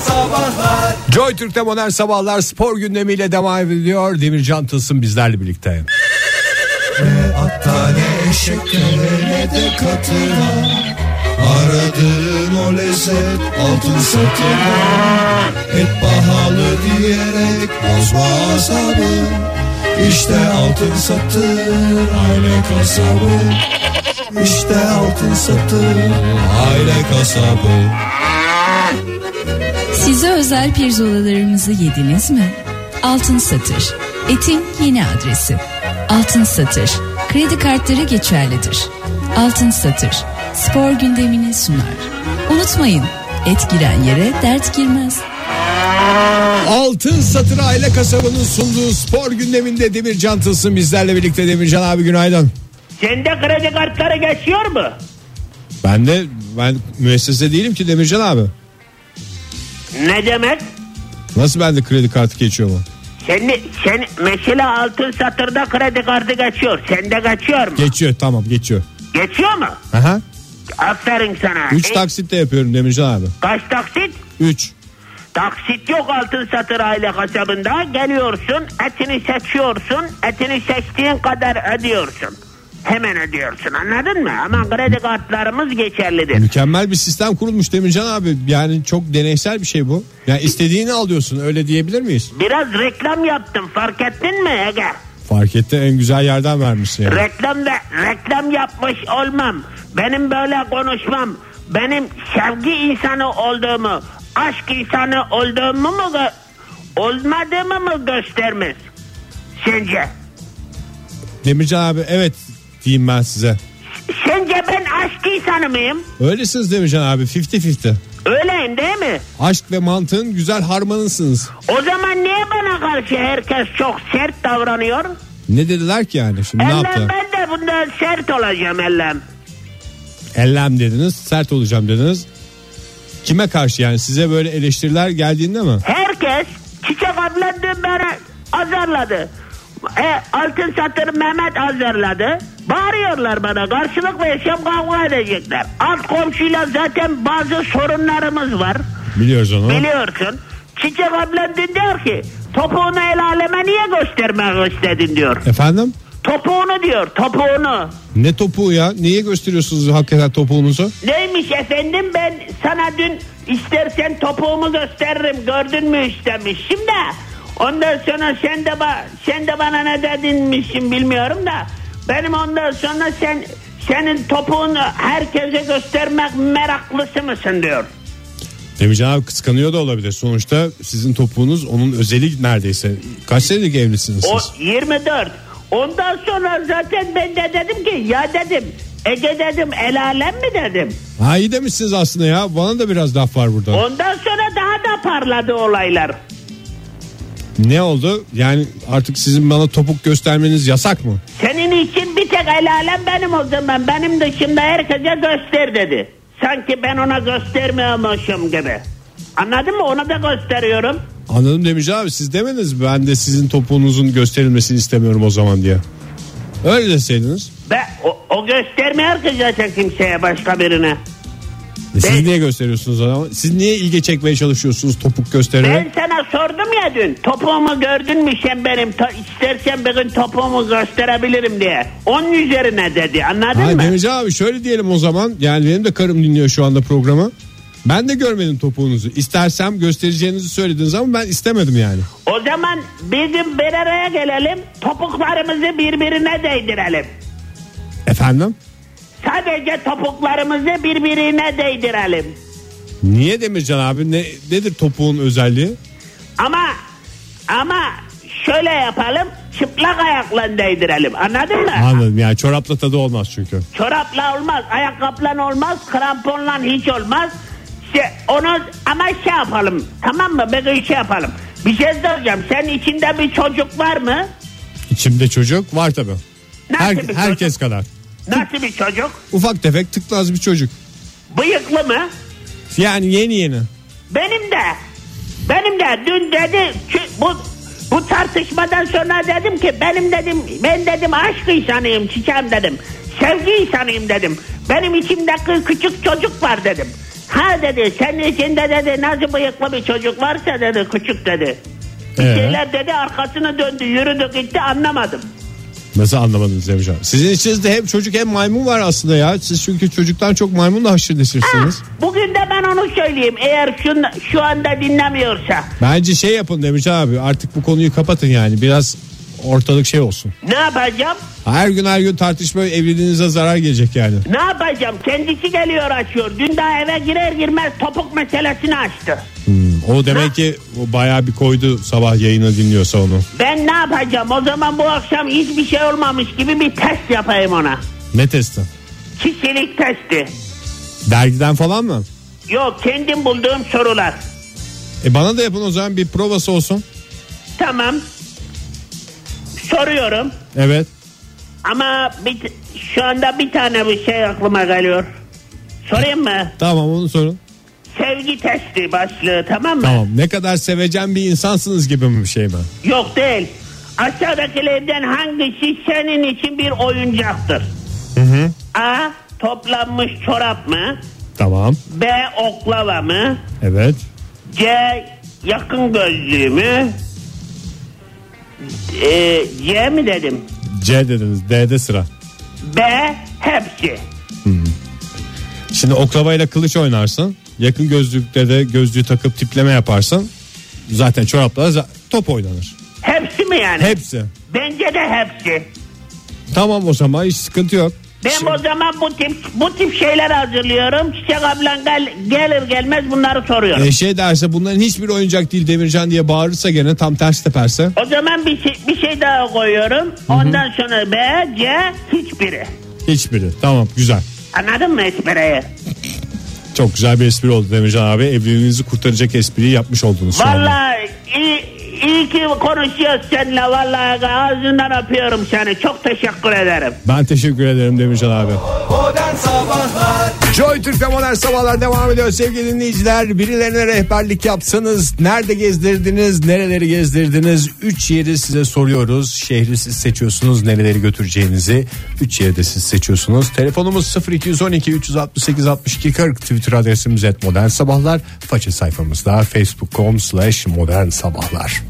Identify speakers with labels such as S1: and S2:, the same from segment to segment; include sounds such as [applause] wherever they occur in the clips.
S1: Sabahlar
S2: Joy Türk'te modern sabahlar spor gündemiyle devam ediyor. Demircan Tılsım bizlerle birlikte.
S1: Hatta ne eşeklere ne de katıra Aradığın o lezzet altın satıra Et pahalı diyerek bozma asabı İşte altın satır aile kasabı İşte altın satır aile kasabı
S3: Size özel pirzolalarımızı yediniz mi? Altın Satır. Etin yeni adresi. Altın Satır. Kredi kartları geçerlidir. Altın Satır. Spor gündemini sunar. Unutmayın. Et giren yere dert girmez.
S2: Altın Satır Aile Kasabı'nın sunduğu spor gündeminde Demircan Tılsım bizlerle birlikte. Demircan abi günaydın.
S4: Sende kredi kartları geçiyor mu?
S2: Ben de ben müessese değilim ki Demircan abi.
S4: Ne demek?
S2: Nasıl bende kredi kartı geçiyor mu?
S4: Seni, sen mesela altın satırda kredi kartı geçiyor. Sende geçiyor mu?
S2: Geçiyor tamam geçiyor.
S4: Geçiyor mu?
S2: Aha.
S4: Aferin sana.
S2: 3
S4: E,
S2: taksit de yapıyorum Demircan abi.
S4: Kaç taksit?
S2: 3.
S4: Taksit yok altın satır aile kasabında. Geliyorsun etini seçiyorsun. Etini seçtiğin kadar ödüyorsun. Hemen ödüyorsun anladın mı? Ama kredi kartlarımız geçerlidir.
S2: Mükemmel bir sistem kurulmuş Demircan abi. Yani çok deneysel bir şey bu. Yani istediğini alıyorsun öyle diyebilir miyiz?
S4: Biraz reklam yaptım fark ettin mi Ege?
S2: Fark etti en güzel yerden vermişsin yani.
S4: Reklam da reklam yapmış olmam. Benim böyle konuşmam. Benim sevgi insanı olduğumu, aşk insanı olduğumu mu gö- olmadığımı mı göstermez? Sence?
S2: Demircan abi evet diyeyim ben size.
S4: Sence ben aşk insanı mıyım?
S2: Öylesiniz Demircan abi 50-50.
S4: Öyleyim değil mi?
S2: Aşk ve mantığın güzel harmanısınız.
S4: O zaman niye bana karşı herkes çok sert davranıyor?
S2: Ne dediler ki yani şimdi ne
S4: Ellem
S2: yaptılar?
S4: ben de bundan sert olacağım ellem.
S2: Ellem dediniz sert olacağım dediniz. Kime karşı yani size böyle eleştiriler geldiğinde mi?
S4: Herkes çiçek abla dün beni azarladı. E, altın satır Mehmet azarladı. Bağırıyorlar bana karşılık vereceğim kavga edecekler. Alt komşuyla zaten bazı sorunlarımız var.
S2: Biliyoruz onu.
S4: Biliyorsun. Çiçek abla dün diyor ki topuğunu el aleme niye göstermek istedin diyor.
S2: Efendim?
S4: Topuğunu diyor topuğunu.
S2: Ne topuğu ya? Niye gösteriyorsunuz hakikaten topuğunuzu?
S4: Neymiş efendim ben sana dün istersen topuğumu gösteririm gördün mü istemiş. Şimdi ondan sonra sen de, ba- sen de bana ne dedinmişsin bilmiyorum da benim ondan sonra sen senin topuğunu herkese göstermek meraklısı mısın diyor.
S2: Demircan abi kıskanıyor da olabilir. Sonuçta sizin topuğunuz onun özeli neredeyse. Kaç senelik evlisiniz
S4: O
S2: siz?
S4: 24. Ondan sonra zaten ben de dedim ki ya dedim Ege dedim el alem mi dedim.
S2: Ha iyi demişsiniz aslında ya. Bana da biraz laf var burada.
S4: Ondan sonra daha da parladı olaylar.
S2: Ne oldu? Yani artık sizin bana topuk göstermeniz yasak mı?
S4: Senin için bir tek el alem benim o zaman. Benim dışımda herkese göster dedi. Sanki ben ona göstermiyormuşum gibi. Anladın mı? Ona da gösteriyorum.
S2: Anladım Demircan abi siz demediniz mi? Ben de sizin topuğunuzun gösterilmesini istemiyorum o zaman diye. Öyle deseydiniz.
S4: Ve o, o göstermiyor ki zaten kimseye başka birine.
S2: E Siz
S4: Ben-
S2: niye gösteriyorsunuz o zaman? Siz niye ilgi çekmeye çalışıyorsunuz topuk göstererek?
S4: Ben sana sordum ya dün. Topuğumu gördün mü sen benim? To- istersen bir gün topuğumu gösterebilirim diye. Onun üzerine dedi. Anladın
S2: Ha,
S4: mı?
S2: Demircan abi şöyle diyelim o zaman. Yani benim de karım dinliyor şu anda programı. Ben de görmedim topuğunuzu. İstersem göstereceğinizi söylediniz ama ben istemedim yani.
S4: O zaman bizim bir araya gelelim. Topuklarımızı birbirine değdirelim.
S2: Efendim?
S4: Sadece topuklarımızı birbirine değdirelim.
S2: Niye Demircan abi? Ne, nedir topuğun özelliği?
S4: Ama ama şöyle yapalım. Çıplak ayakla değdirelim. Anladın mı?
S2: Anladım yani çorapla tadı olmaz çünkü.
S4: Çorapla olmaz, ayakkabıyla olmaz, kramponla hiç olmaz. İşte onu ama şey yapalım. Tamam mı? Bir gün şey yapalım. Bir şey soracağım. Sen içinde bir çocuk var mı?
S2: İçimde çocuk var tabi.
S4: Nasıl
S2: Her,
S4: bir çocuk?
S2: herkes kadar.
S4: Nasıl bir çocuk?
S2: Ufak tefek tıklaz bir çocuk.
S4: Bıyıklı mı?
S2: Yani yeni yeni.
S4: Benim de. Benim de dün dedi ki bu bu tartışmadan sonra dedim ki benim dedim ben dedim aşk insanıyım çiçeğim dedim. Sevgi insanıyım dedim. Benim içimde kı- küçük çocuk var dedim. Ha dedi senin içinde dedi nasıl bıyıklı bir çocuk varsa dedi küçük dedi. Bir
S2: Ee?
S4: şeyler dedi arkasını döndü yürüdü gitti anlamadım.
S2: Nasıl anlamadınız Cem Hocam? Sizin içinizde hem çocuk hem maymun var aslında ya. Siz çünkü çocuktan çok maymunla haşır neşirsiniz.
S4: Bugün de ben onu söyleyeyim eğer şun, şu anda dinlemiyorsa.
S2: Bence şey yapın Demirci abi artık bu konuyu kapatın yani. Biraz ortalık şey olsun.
S4: Ne yapacağım?
S2: Her gün her gün tartışma evliliğinize zarar gelecek yani.
S4: Ne yapacağım? Kendisi geliyor açıyor. Dün daha eve girer girmez topuk meselesini açtı.
S2: Hmm, O demek ki o bayağı bir koydu sabah yayını dinliyorsa onu.
S4: Ben ne yapacağım? O zaman bu akşam hiçbir şey olmamış gibi bir test yapayım ona.
S2: Ne testi?
S4: Kişilik testi.
S2: Dergiden falan mı?
S4: Yok kendim bulduğum sorular.
S2: E bana da yapın o zaman bir provası olsun.
S4: Tamam. Soruyorum.
S2: Evet.
S4: Ama bir, şu anda bir tane bir şey aklıma geliyor. Sorayım mı?
S2: Tamam onu sorun.
S4: Sevgi testi başlığı tamam mı?
S2: Tamam. Ne kadar sevecen bir insansınız gibi mi bir şey mi?
S4: Yok değil. Aşağıdakilerden hangisi senin için bir oyuncaktır? A. Toplanmış çorap mı?
S2: Tamam.
S4: B. Oklava mı?
S2: Evet.
S4: C. Yakın gözlüğü mü? E, C mi dedim?
S2: C dediniz. D'de sıra.
S4: B. Hepsi.
S2: Şimdi oklavayla kılıç oynarsın. Yakın gözlükte de gözlüğü takıp tipleme yaparsın. Zaten çorapla za- top oynanır.
S4: Hepsi mi yani?
S2: Hepsi.
S4: Bence de hepsi.
S2: Tamam o zaman hiç sıkıntı yok.
S4: Ben o zaman bu tip bu tip şeyler hazırlıyorum. Çiçek ablan gel, gelir gelmez bunları soruyorum.
S2: E şey derse bunların hiçbir oyuncak değil Demircan diye bağırırsa gene tam ters teperse.
S4: O zaman bir şey, bir şey daha koyuyorum. Ondan sonra B, C hiçbiri.
S2: Hiçbiri. Tamam güzel.
S4: Anladın mı espriyi?
S2: Çok güzel bir espri oldu Demircan abi. Evliliğinizi kurtaracak espriyi yapmış oldunuz. şu anda.
S4: Vallahi iyi, iyi ki konuşuyoruz seninle. Vallahi ağzından öpüyorum seni. Çok teşekkür ederim.
S2: Ben teşekkür ederim Demircan abi.
S1: Modern Sabahlar
S2: Joy Türk'te modern sabahlar devam ediyor sevgili dinleyiciler. Birilerine rehberlik yapsanız nerede gezdirdiniz, nereleri gezdirdiniz? 3 yeri size soruyoruz. Şehri siz seçiyorsunuz, nereleri götüreceğinizi. 3 yeri de siz seçiyorsunuz. Telefonumuz 0212 368 62 40 Twitter adresimiz et modern sabahlar. Faça sayfamızda facebook.com slash modern sabahlar.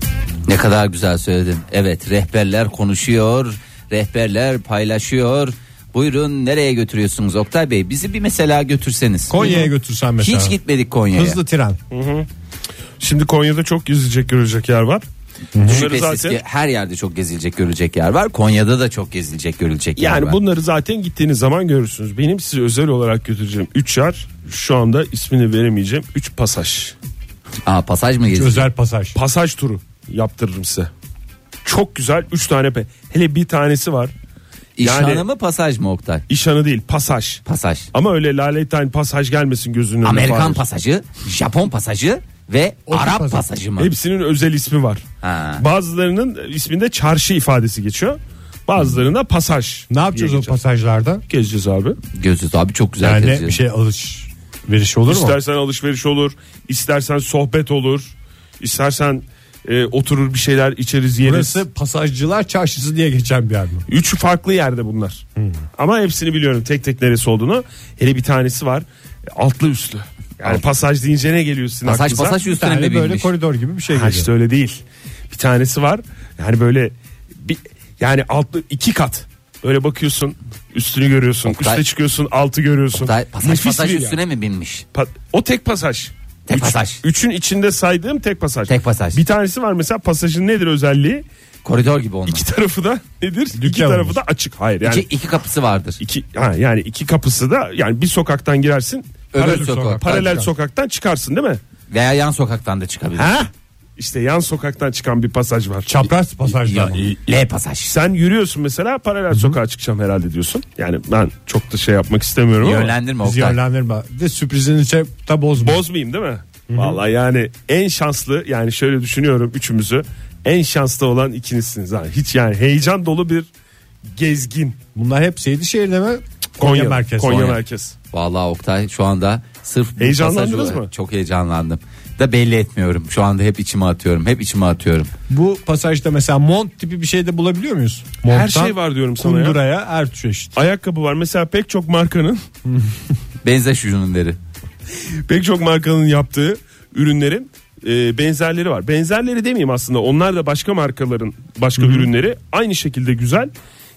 S5: Ne kadar güzel söyledin. Evet rehberler konuşuyor, rehberler paylaşıyor. Buyurun nereye götürüyorsunuz Oktay Bey? Bizi bir mesela götürseniz.
S2: Konya'ya götürsen mesela.
S5: Hiç gitmedik Konya'ya.
S2: Hızlı tren.
S6: Şimdi Konya'da çok gezilecek görülecek yer var. Bunları
S5: Şüphesiz
S6: zaten
S5: ki her yerde çok gezilecek görülecek yer var. Konya'da da çok gezilecek görülecek yer var.
S6: yani bunları zaten gittiğiniz zaman görürsünüz. Benim size özel olarak götüreceğim 3 yer şu anda ismini veremeyeceğim. 3 pasaj.
S5: Aa, pasaj mı gezilecek?
S2: Özel pasaj.
S6: Pasaj turu yaptırırım size. Çok güzel 3 tane pe. Hele bir tanesi var.
S5: İşhane
S6: yani-
S5: mı pasaj mı Oktay?
S6: İşhanı değil pasaj.
S5: Pasaj.
S6: Ama öyle laleten pasaj gelmesin gözünün önüne.
S5: Amerikan
S6: Fahir.
S5: pasajı, Japon pasajı ve Arap
S2: pasaj.
S5: pasajı mı?
S6: Hepsinin özel ismi var.
S5: Ha.
S6: Bazılarının isminde çarşı ifadesi geçiyor. Bazılarında pasaj.
S2: Ne yapacağız
S6: diye
S2: o
S6: geçiyor.
S2: pasajlarda?
S6: Gezeceğiz abi.
S5: Gözüz abi çok güzel
S2: Yani
S5: geziyor.
S2: bir şey alışveriş olur mu?
S6: İstersen alışveriş olur, istersen sohbet olur, istersen e, oturur bir şeyler içeriz yeriz.
S2: Burası pasajcılar çarşısı diye geçen bir yer mi?
S6: Üç farklı yerde bunlar.
S5: Hmm.
S6: Ama hepsini biliyorum tek tek neresi olduğunu. Hele bir tanesi var e, altlı üstlü. Yani pasaj deyince ne geliyor sizin
S5: Pasaj
S6: aklınıza?
S5: pasaj
S2: Bir
S5: üstüne mi
S2: tane böyle
S5: binmiş?
S2: koridor gibi bir şey
S6: Ha,
S2: geliyor.
S6: işte öyle değil. Bir tanesi var yani böyle bir, yani altlı iki kat. Böyle bakıyorsun üstünü görüyorsun.
S5: Oktay-
S6: Üste çıkıyorsun altı görüyorsun.
S5: Oktay, pasaj
S6: Nefis
S5: pasaj
S6: bir yer.
S5: üstüne mi binmiş?
S6: Pa- o tek pasaj.
S5: Tek
S6: Üç-
S5: pasaj.
S6: Üçün içinde saydığım tek pasaj.
S5: Tek pasaj.
S6: Bir tanesi var mesela pasajın nedir özelliği?
S5: Koridor gibi onun.
S6: İki tarafı da nedir? iki
S2: olmuş.
S6: tarafı da açık. Hayır yani
S5: İki, iki kapısı vardır.
S6: iki ha, yani iki kapısı da yani bir sokaktan girersin.
S5: Öbür
S6: paralel
S5: sokaktan
S6: paralel
S5: çıkarsın.
S6: sokaktan çıkarsın değil mi?
S5: Veya yan sokaktan da çıkabilir.
S6: Ha? İşte yan sokaktan çıkan bir pasaj var.
S2: Çapraz pasajlar
S5: Ya,
S2: mı?
S5: L pasaj.
S6: Sen yürüyorsun mesela paralel sokağa çıkacağım herhalde diyorsun. Yani ben çok da şey yapmak istemiyorum ama.
S5: Yönlendirme
S2: Bizi
S5: Oktay.
S2: yönlendirme. Bir De sürprizini çep- da bozma.
S6: Bozmayayım değil mi? Vallahi yani en şanslı yani şöyle düşünüyorum üçümüzü. En şanslı olan ikinizsiniz. Yani hiç yani heyecan dolu bir gezgin.
S2: Bunlar hep Seydişehir'de mi?
S6: Konya, Konya merkez.
S2: merkez.
S6: Konya,
S5: Konya.
S6: merkez.
S5: Vallahi Oktay şu anda sırf bu
S6: Heyecanlandınız
S5: pasaj olarak
S6: mı?
S5: Çok heyecanlandım. Da belli etmiyorum. Şu anda hep içime atıyorum. Hep içime atıyorum.
S2: Bu pasajda mesela mont tipi bir şey de bulabiliyor muyuz?
S6: Her şey var diyorum sana ya.
S2: Kunduraya her çeşit.
S6: Ayakkabı var mesela pek çok markanın
S5: Benzeş ürünleri.
S6: [laughs] Pek çok markanın yaptığı ürünlerin e, benzerleri var. Benzerleri demeyeyim aslında. Onlar da başka markaların başka ürünleri aynı şekilde güzel.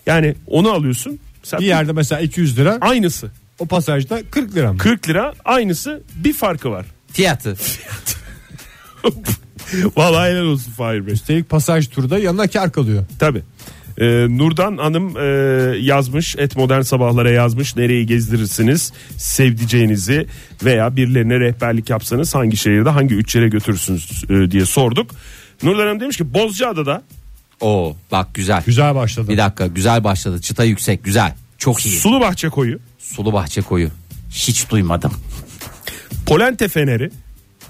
S6: Yani onu alıyorsun. Sen
S2: Bir yerde mesela 200 lira
S6: aynısı.
S2: o pasajda 40 lira mı?
S6: 40 lira aynısı bir farkı var. [laughs]
S5: Fiyatı.
S6: Vallahi helal olsun Fahir Bey.
S2: Üstelik pasaj turda yanına kar kalıyor.
S6: Tabi. Ee, Nurdan Hanım e, yazmış et modern sabahlara yazmış nereyi gezdirirsiniz sevdiceğinizi veya birilerine rehberlik yapsanız hangi şehirde hangi üç yere götürürsünüz e, diye sorduk. Nurdan Hanım demiş ki Bozcaada'da
S5: Oo bak güzel.
S2: Güzel başladı.
S5: Bir dakika güzel başladı. Çıta yüksek güzel. Çok iyi.
S6: Sulu Bahçe Koyu,
S5: Sulu bahçe koyu. Hiç duymadım.
S6: Polente Feneri.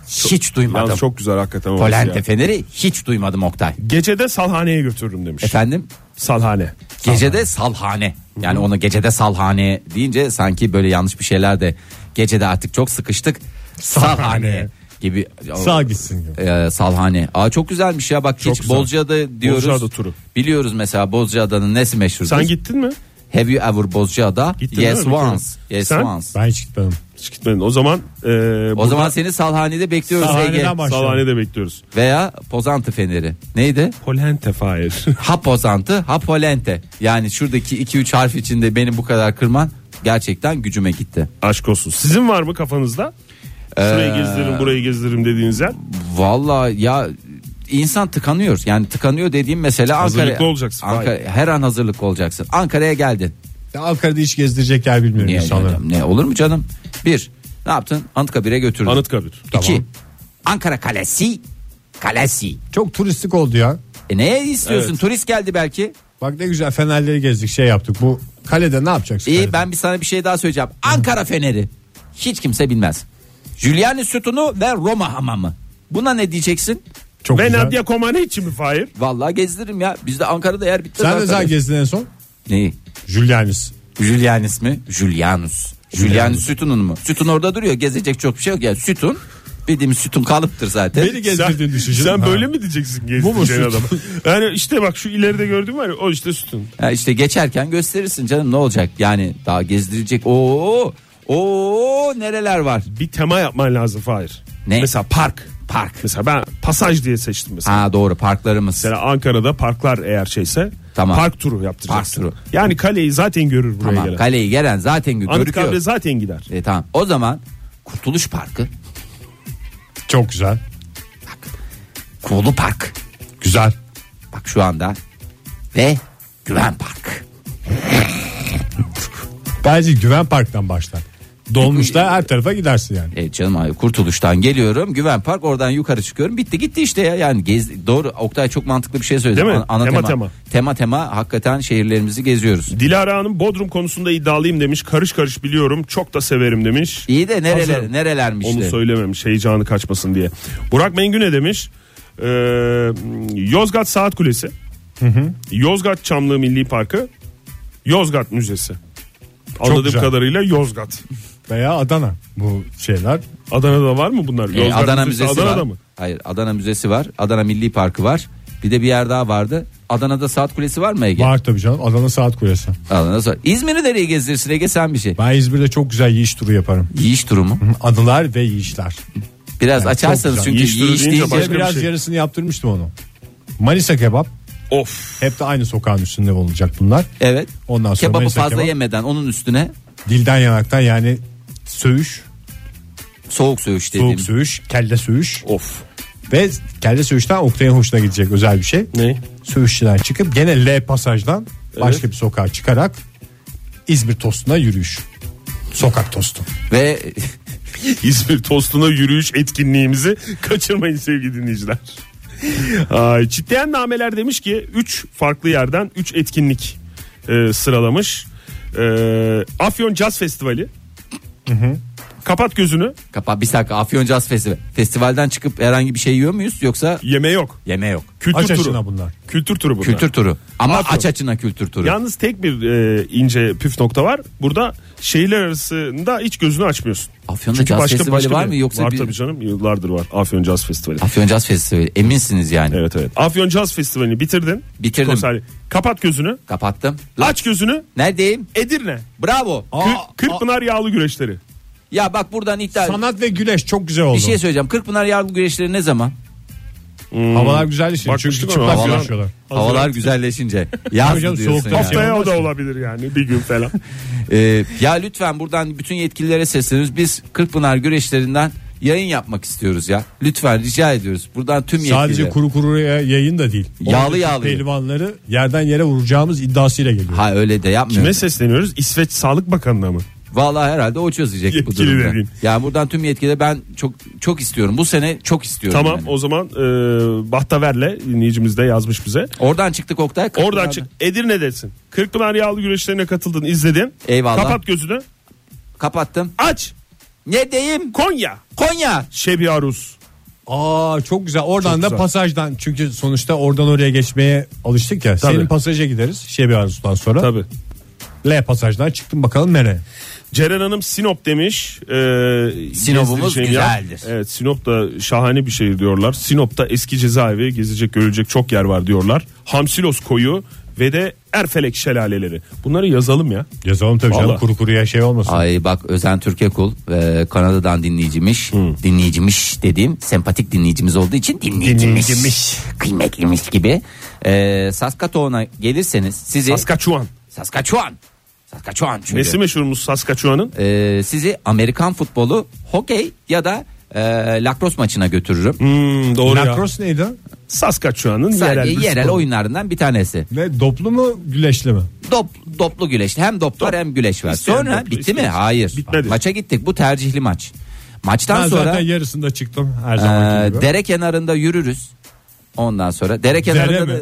S5: Hiç
S6: Yalnız
S5: duymadım.
S6: çok güzel hakikaten. orası
S5: Polente
S6: ya.
S5: feneri hiç duymadım Oktay.
S6: Gecede Salhane'ye götürürüm demiş.
S5: Efendim
S6: Salhane.
S5: gecede salhane. Yani onu gecede salhane deyince sanki böyle yanlış bir şeyler de gecede artık çok sıkıştık. Salhane,
S2: Salhane.
S5: gibi.
S2: Sağ gitsin. gibi.
S5: Ee, salhane. Aa çok güzelmiş ya bak hiç
S6: güzel.
S5: Bozcaada diyoruz.
S6: Bozcaada turu.
S5: Biliyoruz mesela Bozcaada'nın nesi meşhur?
S6: Sen gittin mi?
S5: Have you ever Bozcaada?
S6: Gittin
S5: yes
S6: değil mi?
S5: once. Yes
S6: Sen?
S5: once.
S2: Ben hiç gitmedim.
S6: Hiç gitmedin. O zaman e,
S5: O
S6: burada
S5: zaman seni salhanede bekliyoruz Ege.
S2: Salhaneden başlayalım.
S6: Salhane'de bekliyoruz.
S5: Veya pozantı feneri. Neydi?
S6: Polente [laughs] Fahir.
S5: Ha pozantı ha polente. Yani şuradaki 2-3 harf içinde beni bu kadar kırman gerçekten gücüme gitti.
S6: Aşk olsun. Sizin var mı kafanızda? Şurayı
S5: Ee,
S6: gezdiririm burayı gezdiririm dediğiniz yer.
S5: Vallahi ya insan tıkanıyor. Yani tıkanıyor dediğim mesela Ankara.
S6: Hazırlıklı olacaksın.
S5: Ankara, her an hazırlıklı olacaksın. Ankara'ya geldin.
S2: Ya Ankara'da hiç gezdirecek yer bilmiyorum
S5: Niye
S2: insanlara.
S5: canım? Ne olur mu canım? Bir. Ne yaptın? Anıtkabir'e götürdün.
S6: Anıtkabir.
S5: İki. Ankara Kalesi. Kalesi.
S2: Çok turistik oldu ya.
S5: E ne istiyorsun?
S6: Evet.
S5: Turist geldi belki.
S2: Bak ne güzel fenerleri gezdik şey yaptık. Bu kalede ne yapacaksın?
S5: İyi
S2: kalede?
S5: ben bir sana bir şey daha söyleyeceğim. Ankara Feneri. Hiç kimse bilmez. Giuliani sütunu ve Roma hamamı. Buna ne diyeceksin?
S2: Çok
S6: Ve
S2: güzel.
S6: Nadia Comaneci mi Fahir?
S5: Vallahi gezdiririm ya. Biz de Ankara'da yer bitti.
S2: Sen de
S5: zaten.
S2: zaten gezdin en son.
S5: Neyi?
S2: Julianis.
S5: Julianis mi? Julianus. Julianus sütunun mu? Sütun orada duruyor. Gezecek çok bir şey yok. Yani sütun bildiğimiz sütun kalıptır zaten.
S2: Beni gezdirdiğini düşün. canım.
S6: Sen
S2: Ha.
S6: böyle mi diyeceksin
S2: Bu mu
S6: gezdireceğin
S2: sütun?
S6: adama? Yani işte bak şu ileride gördüğün var ya o işte sütun.
S5: Ha işte geçerken gösterirsin canım ne olacak? Yani daha gezdirecek. Oo! Oo nereler var?
S6: Bir tema yapman lazım Fahir.
S5: Ne?
S6: Mesela park. Park. Mesela ben pasaj diye seçtim mesela.
S5: Ha doğru parklarımız.
S6: Mesela Ankara'da parklar eğer şeyse
S5: Tamam.
S6: park turu yaptıracaksın.
S5: Park turu.
S6: Yani kaleyi zaten görür buraya
S5: Tamam,
S6: gelen.
S5: kaleyi gelen zaten görüküyor.
S6: Anıtkabir'e zaten gider.
S5: E tamam. O zaman Kurtuluş Parkı,
S2: Çok güzel.
S5: Kuğulu Park.
S2: Güzel.
S5: Bak şu anda. Ve Güven Park.
S2: Bence Güven Park'tan başlar. Dolmuşta her tarafa gidersin yani.
S5: E canım abi Kurtuluş'tan geliyorum. Güven Park oradan yukarı çıkıyorum. Bitti gitti işte ya. Yani gez, doğru Oktay çok mantıklı bir şey söyledi.
S6: Değil mi?
S5: Ana
S6: Tema
S5: tema,
S6: tema.
S5: tema. Tema tema hakikaten şehirlerimizi geziyoruz.
S6: Dilara Hanım Bodrum konusunda iddialıyım demiş. Karış karış biliyorum. Çok da severim demiş.
S5: İyi de nereler
S6: Hazırım.
S5: nerelermiş
S6: Onu
S5: de.
S6: söylememiş heyecanı kaçmasın diye. Burak Mengü ne demiş? Ee, Yozgat Saat Kulesi. Yozgat Çamlı Milli Parkı. Yozgat Müzesi. Anladığım
S2: güzel.
S6: kadarıyla Yozgat.
S2: Veya Adana bu şeyler.
S6: Adana'da var mı bunlar?
S5: E,
S6: Yozgat
S5: Adana Müzesi
S6: Adana'da
S5: var.
S6: mı?
S5: Hayır Adana Müzesi var. Adana Milli Parkı var. Bir de bir yer daha vardı. Adana'da Saat Kulesi var mı Ege?
S2: Var tabii canım. Adana Saat Kulesi.
S5: Adana'da Saat- İzmir'i nereye gezdirsin Ege sen bir şey.
S2: Ben İzmir'de çok güzel yiyiş turu yaparım.
S5: Yiyiş durumu.
S2: Anılar ve yiyişler.
S5: Biraz
S2: Yani
S5: açarsanız
S2: çok
S5: çünkü
S6: güzel. Yiyiş turu
S5: yiyiş
S6: deyince
S5: deyince
S6: başka bir
S2: biraz
S6: şey.
S2: yarısını yaptırmıştım onu. Manisa kebap.
S6: Of.
S2: Hep de aynı sokağın üstünde olacak bunlar.
S5: Evet.
S2: Ondan sonra
S5: Kebabı
S2: Manisa
S5: fazla
S2: kebap.
S5: yemeden onun üstüne
S2: Dilden yanaktan yani söğüş,
S5: soğuk söğüş dediğim.
S2: soğuk söğüş, kelle söğüş.
S6: Of.
S2: Ve kelle söğüşten Oktay'ın hoşuna gidecek özel bir şey.
S6: Ne?
S2: Söğüşçüden çıkıp gene L pasajdan başka bir sokağa çıkarak İzmir tostuna yürüyüş. Sokak tostu.
S5: Ve
S6: [laughs] İzmir tostuna yürüyüş etkinliğimizi kaçırmayın sevgili dinleyiciler. Ay, çitleyen nameler demiş ki 3 farklı yerden 3 etkinlik e, sıralamış. E, Afyon Caz Festivali. Kapat gözünü
S5: kapa bir dakika Afyon Caz Festivali. Festivalden çıkıp herhangi bir şey yiyor muyuz yoksa
S6: yeme yok.
S5: yeme yok.
S6: Kültür
S2: Aç
S6: turu.
S2: açına bunlar.
S6: Kültür turu bunlar.
S5: Kültür turu. Ama
S6: Afyon.
S5: aç açına kültür turu.
S6: Yalnız tek bir e, ince püf nokta var. Burada şehirler arasında hiç gözünü açmıyorsun.
S5: Afyon'da caz festivali var mı yoksa
S6: var
S5: bir-
S6: tabii canım yıllardır var Afyon Caz Festivali.
S5: Afyon Caz Festivali eminsiniz yani.
S6: Evet evet. Afyon Caz Festivali'ni bitirdin.
S5: Bitirdim.
S6: Konserli. Kapat gözünü.
S5: Kapattım.
S6: Aç gözünü.
S5: Neredeyim?
S6: Edirne.
S5: Bravo.
S6: Kır, Kırkpınar yağlı güreşleri.
S5: Ya bak buradan iddia.
S2: Sanat ve güneş çok güzel oldu.
S5: bir şey söyleyeceğim. Kırkpınar Yargı Güreşleri ne zaman?
S2: Havalar güzelleşiyor çünkü
S6: Bakmıştık ama
S2: çıplak
S6: havalar-
S2: dolaşıyorlar.
S5: Havalar güzelleşince. Yaz
S2: canım,
S5: diyorsun
S2: soğukta
S5: ya.
S2: şey
S6: Haftaya o da olabilir yani bir gün falan.
S5: Ee, ya lütfen buradan bütün yetkililere sesleniyoruz. Biz Kırkpınar güreşlerinden yayın yapmak istiyoruz ya. Lütfen rica ediyoruz. Buradan tüm yetkililere.
S2: Sadece kuru kuruya yayın da değil.
S5: Yağlı
S2: Oradaki
S5: yağlı.
S2: Pehlivanları yerden yere vuracağımız iddiasıyla geliyor.
S5: Ha öyle de yapmıyor.
S6: Kime sesleniyoruz? İsveç Sağlık Bakanı'na mı?
S5: Vallahi herhalde o çözecek bu
S6: Yetkili
S5: durumu.
S6: vereyim.
S5: Yani buradan tüm yetkililere ben çok çok istiyorum. Bu sene çok istiyorum.
S6: Tamam
S5: yani.
S6: o zaman e, Bahtaver'le dinleyicimiz de yazmış bize.
S5: Oradan çıktık Oktay. Kırkpınar'dan.
S6: Oradan çık Edirne desin. Kırkpınar yağlı güreşlerine katıldın izledin.
S5: Eyvallah.
S6: Kapat gözünü.
S5: Kapattım.
S6: Aç.
S5: Ne diyeyim?
S6: Konya.
S5: Konya.
S6: Şebi Aruz.
S2: Aa çok güzel. Oradan
S6: Çok
S2: da
S6: güzel.
S2: pasajdan çünkü sonuçta oradan oraya geçmeye alıştık ya.
S6: Tabii.
S2: Senin pasaja gideriz. Şebi Arzu'dan sonra.
S6: Tabii.
S2: L pasajdan çıktım bakalım nereye.
S6: Ceren Hanım Sinop demiş. Ee,
S5: Sinop'umuz
S6: gezdireceğim yer.
S5: güzeldir.
S6: Evet Sinop da şahane bir şehir diyorlar. Sinop'ta eski cezaevi gezecek görülecek çok yer var diyorlar. Hamsilos koyu ve de Erfelek şelaleleri. Bunları yazalım ya.
S2: Yazalım tabii canım
S6: Vallahi.
S2: kuru kuruya şey olmasın.
S5: Ay bak Özen Türkekul e, Kanada'dan dinleyicimiş. Dinleyicimiş dediğim sempatik dinleyicimiz olduğu için dinleyicimiş.
S2: Dinleyicimiş.
S5: Kıymetliymiş gibi. E, Saskatoon'a gelirseniz sizi
S6: Saskaçuan.
S5: Saskaçuan. Saskaçuan çünkü.
S6: Nesi meşhurumuz Saskaçuan'ın?
S5: E, sizi Amerikan futbolu, hokey ya da e, lakros maçına götürürüm.
S6: Hmm, doğru ya.
S2: Lacrosse neydi?
S6: Saskaçuan'ın yerel,
S5: Sadece
S6: bir
S5: yerel
S6: sporu.
S5: oyunlarından bir tanesi.
S2: Ne doplu mu güleşli mi?
S5: Dop, doplu güleş. Hem dop var hem güleş var.
S6: İsteyen
S5: Sonra
S6: doplu,
S5: bitti mi?
S6: isteyen-
S5: Hayır.
S6: Bitmedi.
S5: Maça gittik. Bu tercihli maç. Maçtan
S2: Ben
S5: sonra
S2: zaten yarısında çıktım her
S5: Ee,
S2: zaman gibi.
S5: dere kenarında yürürüz. Ondan sonra dere kenarında
S2: mi?
S5: da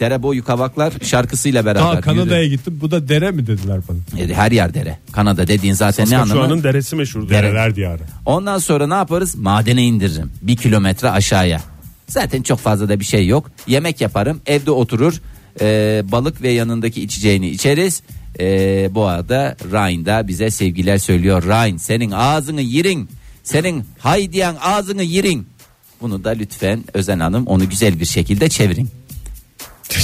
S5: dere boyu kavaklar şarkısıyla beraber
S2: Daha Kanada'ya
S5: yürürüz.
S2: gittim. Bu da dere mi dediler bana?
S5: Ee, Her yer dere. Kanada dediğin zaten ne anlamı?
S6: Saskaçuan'ın deresi meşhur.
S5: Dere.
S2: Dereler diyarı.
S5: Ondan sonra ne yaparız? Madene indiririm. Bir kilometre aşağıya. Zaten çok fazla da bir şey yok. Yemek yaparım. Evde oturur. Ee, balık ve yanındaki içeceğini içeriz. Ee, bu arada Ryan da bize sevgiler söylüyor. Ryan senin ağzını yirin. Senin hay diyen ağzını yirin. Bunu da lütfen Özen Hanım onu güzel bir şekilde çevirin.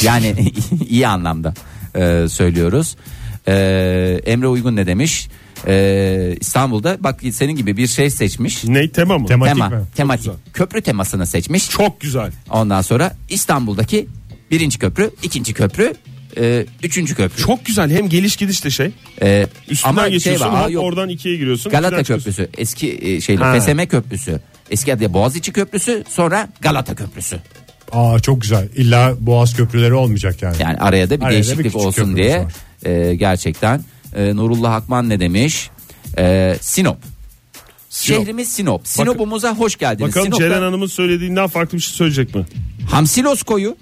S5: Yani [laughs] iyi anlamda e, söylüyoruz. E, Emre Uygun ne demiş? E, İstanbul'da bak senin gibi bir şey seçmiş.
S6: Ne tema mı?
S2: Tema. Tematik
S5: Tema,
S2: mi? Çok
S5: tematik.
S2: güzel.
S5: Köprü temasını seçmiş.
S6: Çok güzel.
S5: Ondan sonra İstanbul'daki birinci köprü, ikinci köprü, e, üçüncü köprü.
S6: Çok güzel. Hem geliş gidiş de şey.
S5: E,
S6: Üstünden
S5: ama şey
S6: geçiyorsun.
S5: var,
S6: hop,
S5: aa, yok.
S6: oradan ikiye giriyorsun.
S5: Galata
S6: ikiden çıkıyorsun.
S5: Köprüsü, eski e, şeyli
S6: Ha.
S5: FSM Köprüsü, eski adıyla Boğaziçi Köprüsü, sonra Galata Köprüsü.
S2: Aa çok güzel. İlla boğaz köprüleri olmayacak yani.
S5: Yani araya da bir
S2: Araya da bir
S5: değişiklik
S2: küçük
S5: olsun
S2: köprümüz
S5: diye
S2: var.
S5: e, gerçekten e, Nurullah Akman ne demiş? E, Sinop.
S6: Sinop.
S5: Şehrimiz Sinop. Sinop'umuza hoş geldiniz.
S6: Bakalım
S5: Sinop'ta
S6: Ceren Hanım'ın söylediğinden farklı bir şey söyleyecek mi?
S5: Hamsilos koyu,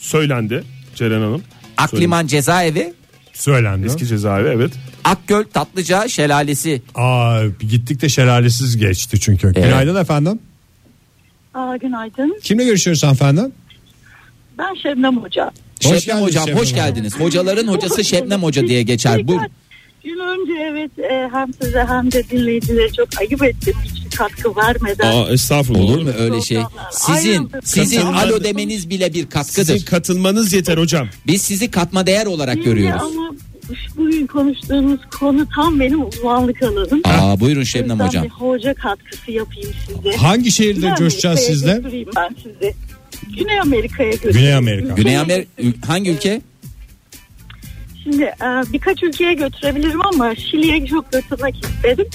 S6: Söylendi Ceren Hanım.
S5: Akliman cezaevi,
S2: Söylendi.
S6: Eski cezaevi evet.
S5: Akgöl Tatlıca şelalesi.
S2: Aa gittik de şelalesiz geçti çünkü. Günaydın efendim.
S7: Aa, günaydın.
S2: Kimle görüşüyoruz efendim?
S7: Ben Şebnem Hoca.
S2: Hoş
S5: Şebnem
S2: geldiniz
S5: hocam
S2: Şebnem
S5: hoş
S2: hocam.
S5: geldiniz. Hocaların hocası Şebnem Hoca diye geçer. Bu
S7: Birkaç Gün önce evet e, hem size hem de dinleyicilere çok ayıp ettim. Hiçbir katkı vermeden.
S6: estağfurullah.
S5: olur mu öyle şey? Sizin
S7: Ayrıldık.
S5: sizin
S7: Katılmadı.
S5: alo demeniz bile bir katkıdır.
S6: katılmanız yeter hocam.
S5: Biz sizi katma değer olarak
S7: Şimdi
S5: görüyoruz.
S7: Ama şu bugün konuştuğumuz konu tam benim uzmanlık alanım.
S5: Aa buyurun
S7: O yüzden
S5: Şebnem hocam.
S7: Bir hoca katkısı yapayım size.
S2: Hangi şehirde
S7: Güney
S2: coşacağız
S7: Amerika'ya
S2: sizle?
S7: götüreyim ben sizi. Güney Amerika'ya götüreyim.
S2: Güney Amerika.
S5: Güney Amerika hangi ülke?
S7: Şimdi e, birkaç ülkeye götürebilirim ama Şili'ye çok götürmek istedim.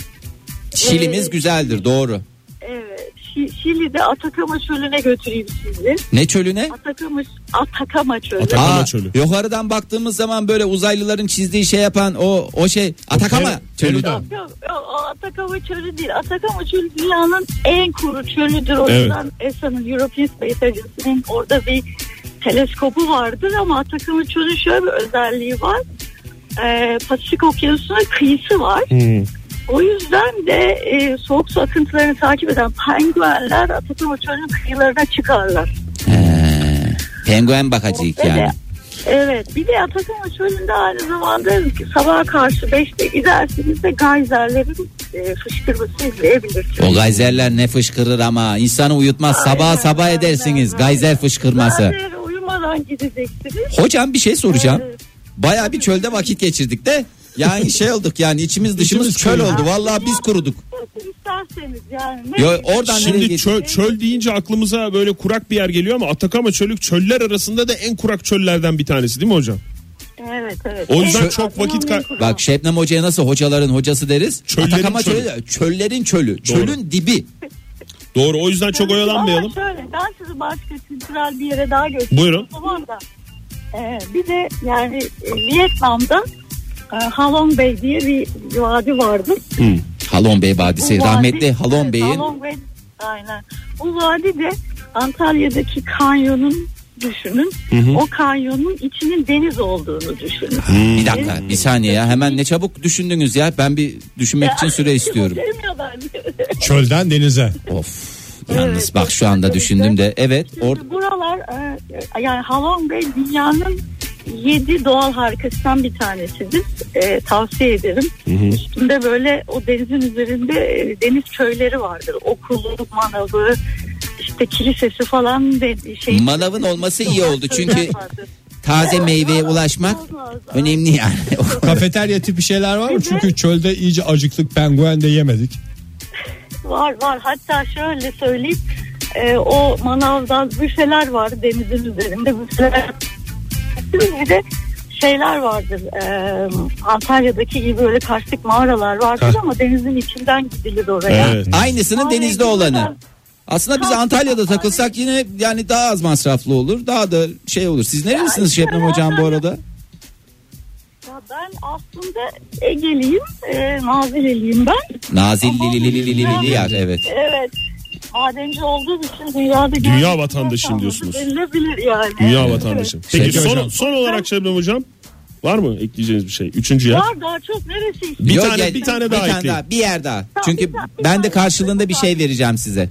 S5: Şilimiz
S7: Ee,
S5: güzeldir doğru.
S7: Evet. Şi- Şili'de Atakama çölüne götüreyim sizi.
S5: Ne çölüne?
S7: Atakama, Atakama çölü.
S6: Atakama çölü.
S5: Yukarıdan baktığımız zaman böyle uzaylıların çizdiği şey yapan o o şey Atakama
S2: Peru-
S5: çölü.
S2: Peru'da.
S7: Yok, yok, o Atakama çölü değil. Atakama çölü dünyanın en kuru çölüdür. O yüzden ESA'nın European Space Agency'nin orada bir teleskopu vardır ama Atakama çölü şöyle bir özelliği var. Ee, Pasifik Okyanusu'na kıyısı var. O yüzden de e, soğuk su akıntılarını takip eden penguenler Atakama çölünün kıyılarına çıkarlar.
S5: Penguen bakacak
S7: Ve de-
S5: yani.
S7: Evet bir de Atakama Çölü'nde aynı zamanda sabaha karşı 5'te gidersiniz de gayzerlerin e, fışkırmasını izleyebilirsiniz.
S5: O gayzerler ne fışkırır ama insanı uyutmaz. Sabah
S7: Aynen,
S5: sabah
S7: aynen,
S5: edersiniz
S7: aynen.
S5: gayzer fışkırması.
S7: Gayzer uyumadan gideceksiniz.
S5: Hocam bir şey soracağım.
S7: Evet.
S5: Baya bir çölde vakit geçirdik de yani şey olduk yani içimiz dışımız çöl oldu. Vallahi biz kuruduk.
S7: Nasıl isterseniz yani. Ne
S5: Yo, oradan nereye
S6: Şimdi
S5: geçti?
S6: çöl, çöl deyince aklımıza böyle kurak bir yer geliyor ama Atakama çölük çöller arasında da en kurak çöllerden bir tanesi değil mi hocam?
S7: Evet evet.
S6: O yüzden
S7: En
S6: çok
S7: azından
S6: vakit kay-
S7: bir-
S5: Bak Şebnem Hoca'ya nasıl hocaların hocası deriz.
S6: Çöllerin
S5: Atakama
S6: çölü.
S5: çölü. Çöllerin çölü. Çölün dibi.
S6: Doğru o yüzden çok oyalanmayalım.
S7: Ama şöyle ben sizi başka kültürel bir yere daha götüreyim.
S6: Buyurun.
S7: O zaman da, e, bir de yani e, Vietnam'da e, Halong Bay diye bir vadi vardı.
S5: Halon Bey Vadisi.
S7: Bu vadi-
S5: Rahmetli Halon
S7: Evet,
S5: Bey'in
S7: Halong Bey, aynen. Bu vadi de Antalya'daki kanyonun düşünün. O kanyonun içinin deniz olduğunu düşünün.
S6: Hmm.
S5: bir dakika bir saniye ya hemen ne çabuk düşündünüz ya ben bir düşünmek için süre
S7: [laughs]
S5: istiyorum.
S2: Çölden denize.
S5: Of yalnız
S7: Evet,
S5: bak şu anda
S7: kesinlikle.
S5: düşündüm de evet or
S7: Şimdi [laughs] buralar e, yani Halong Bay dünyanın 7 doğal harikasından bir tanesidir. E, tavsiye ederim. Üstünde böyle o denizin üzerinde e, deniz köyleri vardır. Okulu, manavı, işte kilisesi falan de, şey.
S5: Manavın olması iyi
S7: Doğal
S5: oldu çünkü
S7: köyler vardır.
S5: taze meyveye ulaşmak önemli yani.
S2: Kafeterya tipi şeyler var mı?
S7: Bir de-
S2: Çünkü çölde iyice acıktık penguen de yemedik.
S7: Var var. Hatta şöyle söyleyeyim. e, o manavda büfeler var denizin üzerinde büfeler. Bir de şeyler vardır. e, Antalya'daki gibi böyle karstik mağaralar vardır ama denizin içinden gidilir oraya.
S6: Evet.
S5: Aynısının
S7: Aynen.
S5: denizde olanı. Aslında biz Antalya'da takılsak yine yani daha az masraflı olur. Daha da şey olur. Siz nerelisiniz Şebnem Hocam bu arada?
S7: Ya ben aslında Ege'liyim. E, Nazileliyim ben.
S5: Nazilli yer evet.
S7: Evet. Madenci olduğum için dünyada
S6: Dünya
S7: gerçekten
S6: vatandaşıyım
S7: sanması
S6: diyorsunuz.
S7: Denilebilir yani.
S6: Dünya
S7: Evet.
S6: vatandaşı. Peki
S2: Peki
S6: son,
S2: hocam.
S6: son olarak Şebnem hocam var mı ekleyeceğiniz bir şey? Üçüncü yer.
S7: Var daha çok neresi? istiyorsun?
S6: Bir
S5: Yok,
S6: tane-
S5: gel-
S6: bir tane daha ekleyin.
S5: bir yer daha.
S7: Tamam,
S5: Çünkü
S7: bir tane- bir
S5: ben de
S7: tane-
S5: karşılığında bir şey vereceğim size.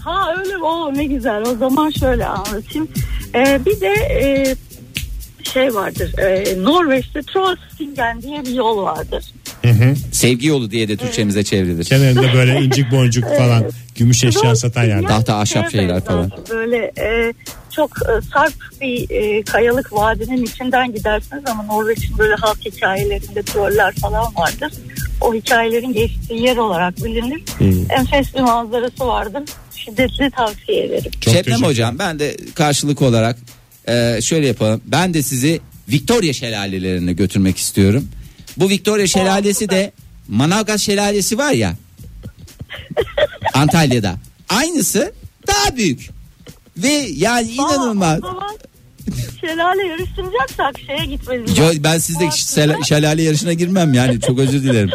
S7: Ha öyle mi? Oo, ne güzel. O zaman şöyle anlatayım. Ee, bir de e, şey vardır. E, Norveç'te Trollstingen diye bir yol vardır.
S5: Sevgi yolu diye de Türkçemize çevrilir.
S2: Kenarında böyle incik boncuk falan gümüş eşya satan yer.
S7: Trollstingen
S5: Tahta, ahşap
S7: şeye
S5: şeyler falan.
S7: benzer. Böyle e, çok e, sarp bir e, kayalık vadinin içinden gidersiniz ama Norveç'in böyle halk hikayelerinde troller falan vardır. O hikayelerin geçtiği yer olarak bilinir. Enfes bir manzarası vardır. Şiddetli tavsiye ederim.
S2: Çok
S5: Şebnem
S2: teşekkür
S5: Şey hocam ben de karşılık olarak e, şöyle yapalım. Ben de sizi Victoria şelalelerine götürmek istiyorum. Bu Victoria şelalesi de Manavgat şelalesi var ya. Antalya'da. Aynısı daha büyük. Ve yani inanılmaz.
S7: Aa, o zaman şelale yarıştıracaksak şeye gitmeliyiz.
S5: Yo, ben sizde şel- şelale yarışına girmem yani çok özür dilerim.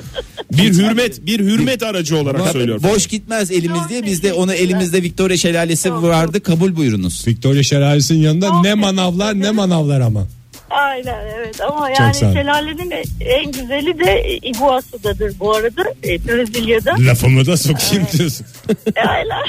S6: Bir hürmet, bir hürmet aracı olarak söylüyorum.
S5: Boş gitmez elimiz diye biz de onu elimizde Victoria şelalesi vardı kabul buyurunuz.
S2: Victoria Şelalesi'nin yanında
S7: Çok
S2: ne
S7: teşekkür
S2: manavlar ne
S7: ederim.
S2: manavlar ama.
S7: Aynen evet ama yani
S2: sağ ol.
S7: şelalenin en güzeli de Iguazu'dadır bu arada.
S5: [laughs]
S7: E, Brezilya'da. E,
S2: Lafımı da sokayım diyorsun.
S7: Aynen.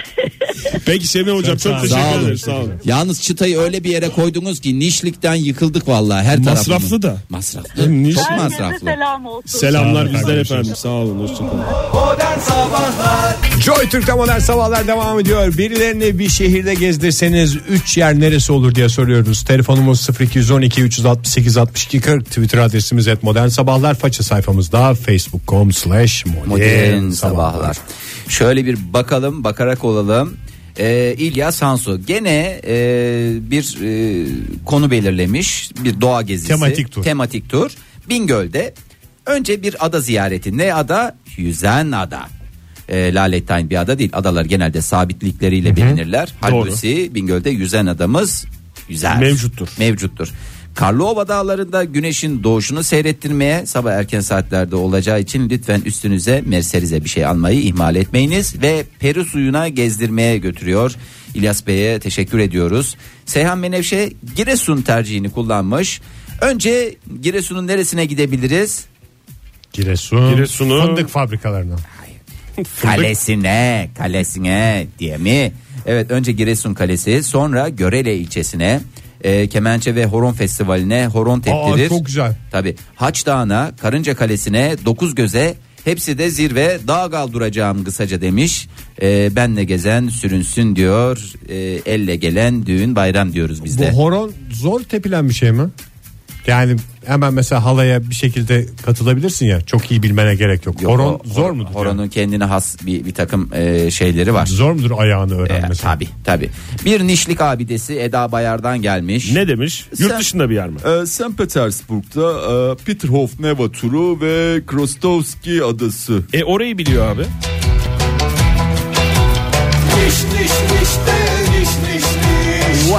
S6: Peki Şebnem hocam çok
S5: Sağ
S6: teşekkür
S5: olun.
S6: ederim. Sağ olun.
S5: Yalnız çıtayı öyle bir yere koydunuz ki nişlikten yıkıldık vallahi her tarafımız.
S6: Masraflı da.
S5: Masraflı.
S6: Hem niş-
S5: Çok
S7: [laughs] Herkese
S5: masraflı.
S7: selam olsun.
S6: Selamlar bizden
S2: kardeşim.
S6: efendim. Sağ olun. Hoşçakalın.
S1: Modern Sabahlar
S2: Joy Türk'te modern sabahlar devam ediyor. Birilerini bir şehirde gezdirseniz 3 yer neresi olur diye soruyoruz. Telefonumuz 0212 368 62 40. Twitter adresimiz et modern sabahlar. Faça sayfamızda facebook.com slash modern
S5: Modern
S2: sabahlar.
S6: Ee,
S5: sabahlar. Şöyle bir bakalım bakarak olalım. Ee, İlyas Hansu gene e, bir e, konu belirlemiş bir doğa gezisi
S2: Tematik tur.
S5: tematik tur Bingöl'de önce bir ada ziyareti ne ada Yüzen Ada e, Lalettayn bir ada değil adalar genelde sabitlikleriyle bilinirler halbuki Bingöl'de Yüzen Adamız yüzer
S6: Mevcuttur.
S5: mevcuttur. Karlova Dağları'nda güneşin doğuşunu seyrettirmeye sabah erken saatlerde olacağı için lütfen üstünüze merserize bir şey almayı ihmal etmeyiniz ve Peru suyuna gezdirmeye götürüyor. İlyas Bey'e teşekkür ediyoruz. Seyhan Menevşe Giresun tercihini kullanmış. Önce Giresun'un neresine gidebiliriz?
S2: Giresun,
S6: Giresun'u-
S2: fındık fabrikalarına.
S5: Kalesine, kalesine diye mi? Evet önce Giresun Kalesi sonra Görele ilçesine e, Kemençe ve Horon Festivali'ne horon teptirir.
S2: çok güzel.
S5: Tabi Haç Dağı'na, Karınca Kalesi'ne, Dokuz Göze hepsi de zirve dağ gal duracağım kısaca demiş. E, benle gezen sürünsün diyor. E, elle gelen düğün bayram diyoruz biz
S2: Bu
S5: de.
S2: horon zor tepilen bir şey mi? Yani hemen mesela halaya bir şekilde katılabilirsin ya. Çok iyi bilmene gerek yok.
S5: Yok,
S2: horon
S5: o-
S2: zor mudur? yani?
S5: Horonun kendine has bir, bir takım e, şeyleri var.
S2: Zor mudur ayağını
S5: E,
S2: öğrenmesi?
S5: tabii tabii. Bir nişlik abidesi Eda Bayar'dan gelmiş.
S6: Ne demiş?
S5: Sen-
S6: Yurt dışında bir yer mi?
S8: Ee, St. Petersburg'da e, Peterhof Neva turu ve Krostovski adası.
S6: E orayı biliyor abi.
S1: Niş niş niş de niş niş niş.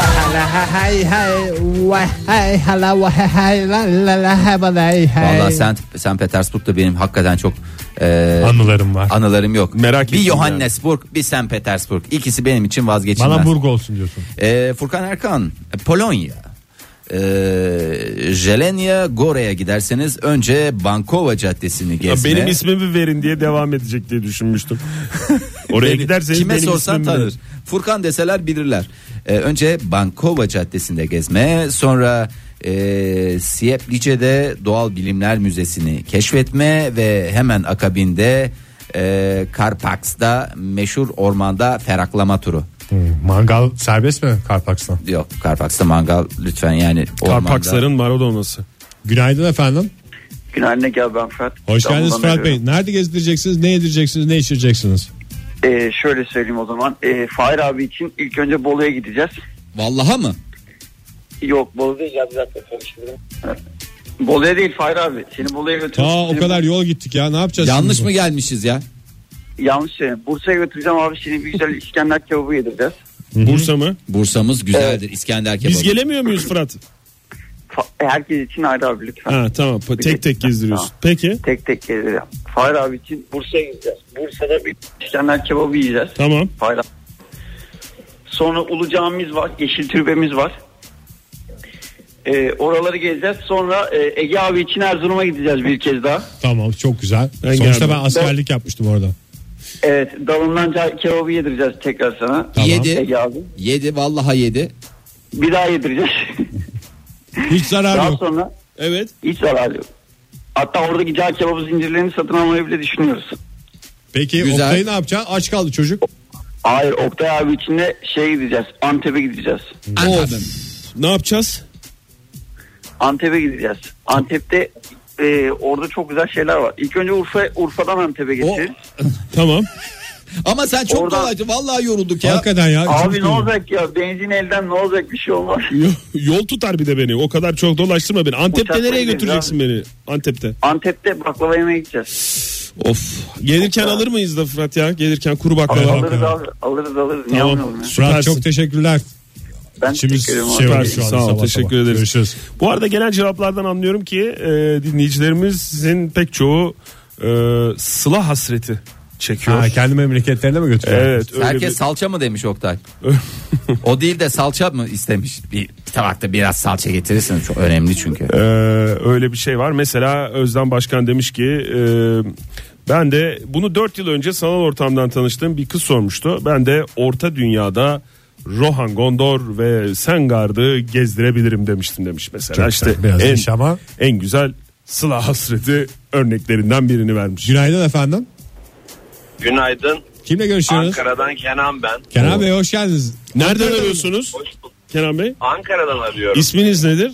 S5: Vallahi sen sen Petersburg'da benim hakikaten çok e,
S2: Anılarım var.
S5: anılarım yok. bir
S6: Merak ettim
S5: Johannesburg, bir St. Petersburg. İkisi benim için vazgeçilmez.
S2: Bana burg olsun diyorsun.
S5: Ee, Furkan Erkan Polonya ee, Jelenia Gore'ye giderseniz önce Bankova Caddesi'ni
S6: Ya
S5: gezme.
S6: benim ismimi verin diye devam edecek
S5: [laughs]
S6: diye düşünmüştüm. Oraya
S5: Beni-
S6: giderseniz
S5: kime
S6: benim
S5: sorsan
S6: ismimi
S5: tanır.
S6: verin.
S5: Furkan deseler bilirler. Ee, önce Bankova Caddesi'nde gezme, sonra e, Sieplice'de Doğal Bilimler Müzesi'ni keşfetme ve hemen akabinde e, Karpaks'ta meşhur ormanda feraklama turu.
S2: Hmm, Mangal serbest mi Karpaks'tan?
S5: Yok Karpaks'ta mangal lütfen yani ormanda.
S6: Karpaksların Maradona'sı.
S2: Günaydın efendim.
S9: Günaydın Ege abi ben Fırat.
S2: Hoş
S9: İstanbul'dan
S2: geldiniz Ferhat
S9: arıyorum.
S2: Bey. Nerede gezdireceksiniz, ne yedireceksiniz, ne içireceksiniz?
S9: Ee, şöyle söyleyeyim o zaman. Ee, Fahir abi için ilk önce Bolu'ya gideceğiz.
S5: Vallaha mı?
S9: Yok Bolu değil ya bir dakika [laughs] karıştırdım. Bolu'ya değil Fahir abi. Seni Bolu'ya götüreceğim.
S2: Ta o kadar yol gittik ya ne yapacağız?
S5: Yanlış
S2: şimdi
S5: mı gelmişiz ya?
S9: Yanlış söyleyeyim. Bursa'ya götüreceğim abi. Şimdi bir güzel İskender kebabı yedireceğiz.
S6: Bursa mı?
S5: Bursa'mız güzeldir. İskender kebabı.
S6: Biz gelemiyor muyuz Fırat?
S9: Fa- Herkes için ayrı abi lütfen.
S6: Ha tamam. Pa- Tek tek gezdiriyorsun.
S9: Tamam.
S6: Peki.
S9: Tek tek yedireceğim. Fahir abi için Bursa'ya gideceğiz. Bursa'da bir İskender kebabı yiyeceğiz.
S6: Tamam.
S9: Fahir abi. Sonra Ulu Camimiz var. Yeşil Türbemiz var. Ee, oraları gezeceğiz. Sonra e, Ege abi için Erzurum'a gideceğiz bir kez daha.
S2: Tamam çok güzel.
S6: Ben
S2: Sonuçta
S6: geldim.
S2: ben askerlik yapmıştım orada.
S9: Evet dalından ca- kebabı yedireceğiz tekrar sana.
S2: Tamam.
S9: Ege
S5: Yedi.
S9: abi.
S5: Yedi vallahi yedi.
S9: Bir daha yedireceğiz. [laughs]
S2: Hiç zarar
S9: daha
S2: yok.
S9: sonra
S6: Evet.
S9: hiç zararlı yok. Hatta oradaki cağ kebabı zincirlerini satın almayı bile düşünüyoruz.
S2: Peki
S5: Güzel.
S2: Oktay ne yapacak? Aç kaldı çocuk.
S9: Hayır Oktay abi için de şey gideceğiz. Antep'e gideceğiz.
S5: Anladım.
S6: Ne yapacağız?
S9: Antep'e gideceğiz. Antep'te e, orada çok güzel şeyler var. İlk önce Urfa Urfa'dan Antep'e geçeceğiz.
S6: Tamam.
S5: Ama sen çok
S9: Oradan-
S5: dolaydı. Vallahi yorulduk ya.
S2: Hakikaten ya.
S9: Abi
S2: çok
S9: ne
S2: iyi.
S9: olacak ya? Benzin elden ne olacak? Bir şey olmaz.
S6: Yo- Yol tutar bir de beni. O kadar çok dolaştırma beni. Antep'te
S9: Uçakla
S6: nereye
S9: gideceğiz
S6: götüreceksin beni? Antep'te.
S9: Antep'te baklava yemeye gideceğiz.
S6: Of. Gelirken alır mıyız da Fırat ya? Gelirken kuru baklava.
S2: Baklava.
S9: Alırız abi. Alırız alırız. Niye almayalım
S6: Tamam.
S9: ya?
S2: Fırat
S6: Süpersin.
S2: çok teşekkürler.
S9: Ben
S2: İçimiz
S9: teşekkür ederim abi.
S2: şey oldu şu
S6: Süpersin.
S2: anda
S6: Sağ ol.
S2: sabah
S6: Teşekkür
S2: sabah.
S6: ederiz.
S2: Görüşürüz.
S6: Bu arada gelen cevaplardan anlıyorum ki e, dinleyicilerimizin pek çoğu e, sıla hasreti çekiyor.
S2: Ha, kendi memleketlerine mi götürüyorlar?
S6: evet. öyle
S5: Herkes
S6: bir-
S5: salça mı demiş
S6: [laughs]
S5: Oktay? o değil de salça mı istemiş? Bir, bir tabakta biraz salça getirirsiniz. Çok önemli çünkü.
S6: Ee, öyle bir şey var. Mesela Özlem Başkan demiş ki e, ben de bunu 4 yıl önce sanal ortamdan tanıştığım bir kız sormuştu. Ben de orta dünyada Rohan Gondor ve Sengard'ı gezdirebilirim demiştim demiş mesela.
S2: Çok
S6: işte
S2: güzel. Biraz iş ama.
S6: en güzel Sıla hasreti örneklerinden birini vermiş.
S2: Günaydın efendim.
S10: Günaydın.
S2: Kimle görüşüyoruz?
S10: Ankara'dan Kenan ben.
S2: Kenan Bey hoş geldiniz.
S6: Nereden arıyorsunuz
S10: Hoş bulduk.
S6: Kenan Bey?
S10: Ankara'dan arıyorum.
S6: İsminiz nedir?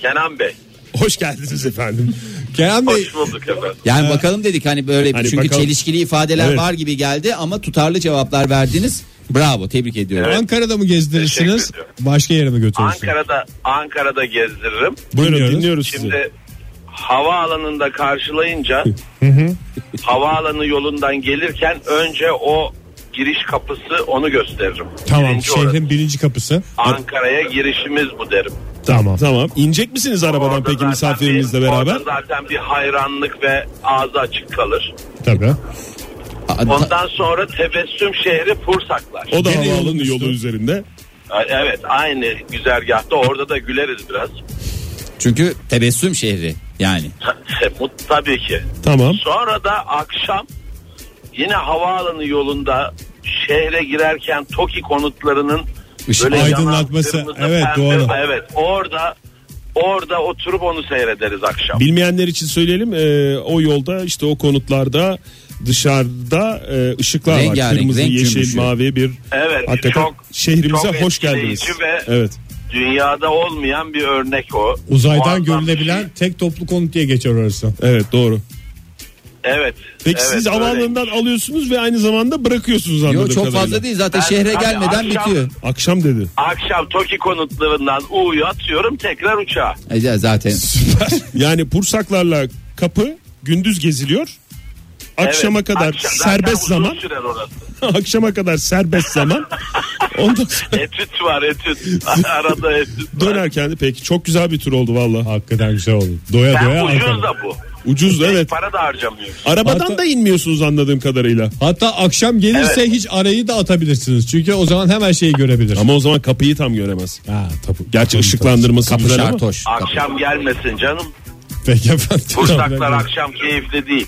S10: Kenan Bey.
S6: Hoş geldiniz efendim.
S2: Kenan Bey
S10: Hoş bulduk efendim.
S5: Yani bakalım dedik hani böyle
S6: Hani
S5: çünkü
S6: bakalım.
S5: çelişkili ifadeler
S6: Evet.
S5: var gibi geldi ama tutarlı cevaplar verdiniz. Bravo tebrik ediyorum.
S2: Ankara'da mı gezdirirsiniz?
S10: Teşekkür ediyorum.
S2: Başka yere mi götürürsünüz?
S10: Ankara'da Ankara'da gezdiririm.
S6: Buyurun
S2: Dinliyoruz.
S6: dinliyoruz sizi.
S10: Şimdi havaalanında karşılayınca havaalanı yolundan gelirken önce o giriş kapısı onu gösteririm.
S2: Tamam
S10: Birinci
S2: şehrin
S10: orası.
S2: birinci kapısı.
S10: Ankara'ya girişimiz bu derim.
S2: Tamam.
S6: Tamam. İnecek misiniz arabadan
S10: Orada
S6: peki
S10: zaten
S6: misafirimizle
S10: bir-
S6: beraber?
S10: Orada zaten bir hayranlık ve ağzı açık kalır.
S2: Tabii.
S5: Aa, ta-
S10: Ondan sonra tebessüm şehri Pursaklar.
S6: O da
S2: Nereye
S6: havaalanı
S2: yolunuz
S6: yolu
S2: bu?
S6: üzerinde.
S10: Ay, Evet aynı güzergahta orada da güleriz biraz. [laughs]
S5: Çünkü tebessüm şehri yani.
S10: Ta- bu E, Tabii ki.
S6: Tamam.
S10: Sonra da akşam yine havaalanı yolunda şehre girerken TOKİ konutlarının
S2: Işık
S10: yanan
S2: aydınlatması,
S10: kırmızı
S2: evet,
S10: pembe-
S2: doğru.
S10: Evet orada orada oturup onu seyrederiz akşam.
S6: Bilmeyenler için söyleyelim e, o yolda işte o konutlarda dışarıda e, ışıklar var.
S5: Rengarenk,
S6: Kırmızı,
S5: renk
S6: yeşil,
S5: cümbüşü.
S6: mavi bir
S10: Evet,
S6: hakikaten
S10: çok-
S6: şehrimize
S10: çok
S6: hoş
S10: etkileyici
S6: geldiniz.
S10: ve-
S6: Evet.
S7: Dünyada olmayan bir örnek o.
S2: Uzaydan
S7: Muazzam
S2: görülebilen tek toplu konut diye geçiyor orası.
S6: Evet doğru.
S7: Evet.
S6: Peki
S7: evet,
S6: siz
S7: öyle.
S6: havaalanından alıyorsunuz ve aynı zamanda bırakıyorsunuz anladığım
S5: Yok çok
S6: kadarıyla.
S5: fazla değil zaten
S7: Ben-
S5: şehre
S7: Abi,
S5: gelmeden
S7: akşam-
S5: bitiyor.
S6: Akşam dedi.
S7: Akşam Toki konutlarından U'yu atıyorum tekrar uçağa.
S5: Ece E, zaten.
S6: Yani Pursaklarla kapı gündüz geziliyor. Akşama
S7: Evet,
S6: kadar
S7: akşam- zaten
S6: serbest
S7: uzun
S6: zaman.
S7: sürer
S6: [laughs]
S7: orası.
S6: akşama kadar serbest zaman. Ondan sonra
S7: Etüt var etüt. [laughs] Arada etüt var.
S6: dönerken de peki çok güzel bir tur oldu valla.
S2: Hakikaten güzel oldu. Doya
S7: Ben
S2: doya
S7: ucuz
S2: Ankara.
S7: da bu.
S6: Ucuz evet.
S7: Para da harcamıyoruz.
S6: Arabadan
S2: Hatta-
S6: da inmiyorsunuz anladığım kadarıyla.
S2: Hatta akşam gelirse hiç arayı da atabilirsiniz. Çünkü o zaman hemen şeyi görebilir.
S6: Ama o zaman kapıyı tam göremez.
S2: Ha, tapu,
S6: Gerçi ışıklandırması
S5: Kapı
S6: güzel ama.
S5: şartoş.
S7: Akşam gelmesin canım.
S2: Peki efendim.
S7: Kursaklar akşam keyifli değil.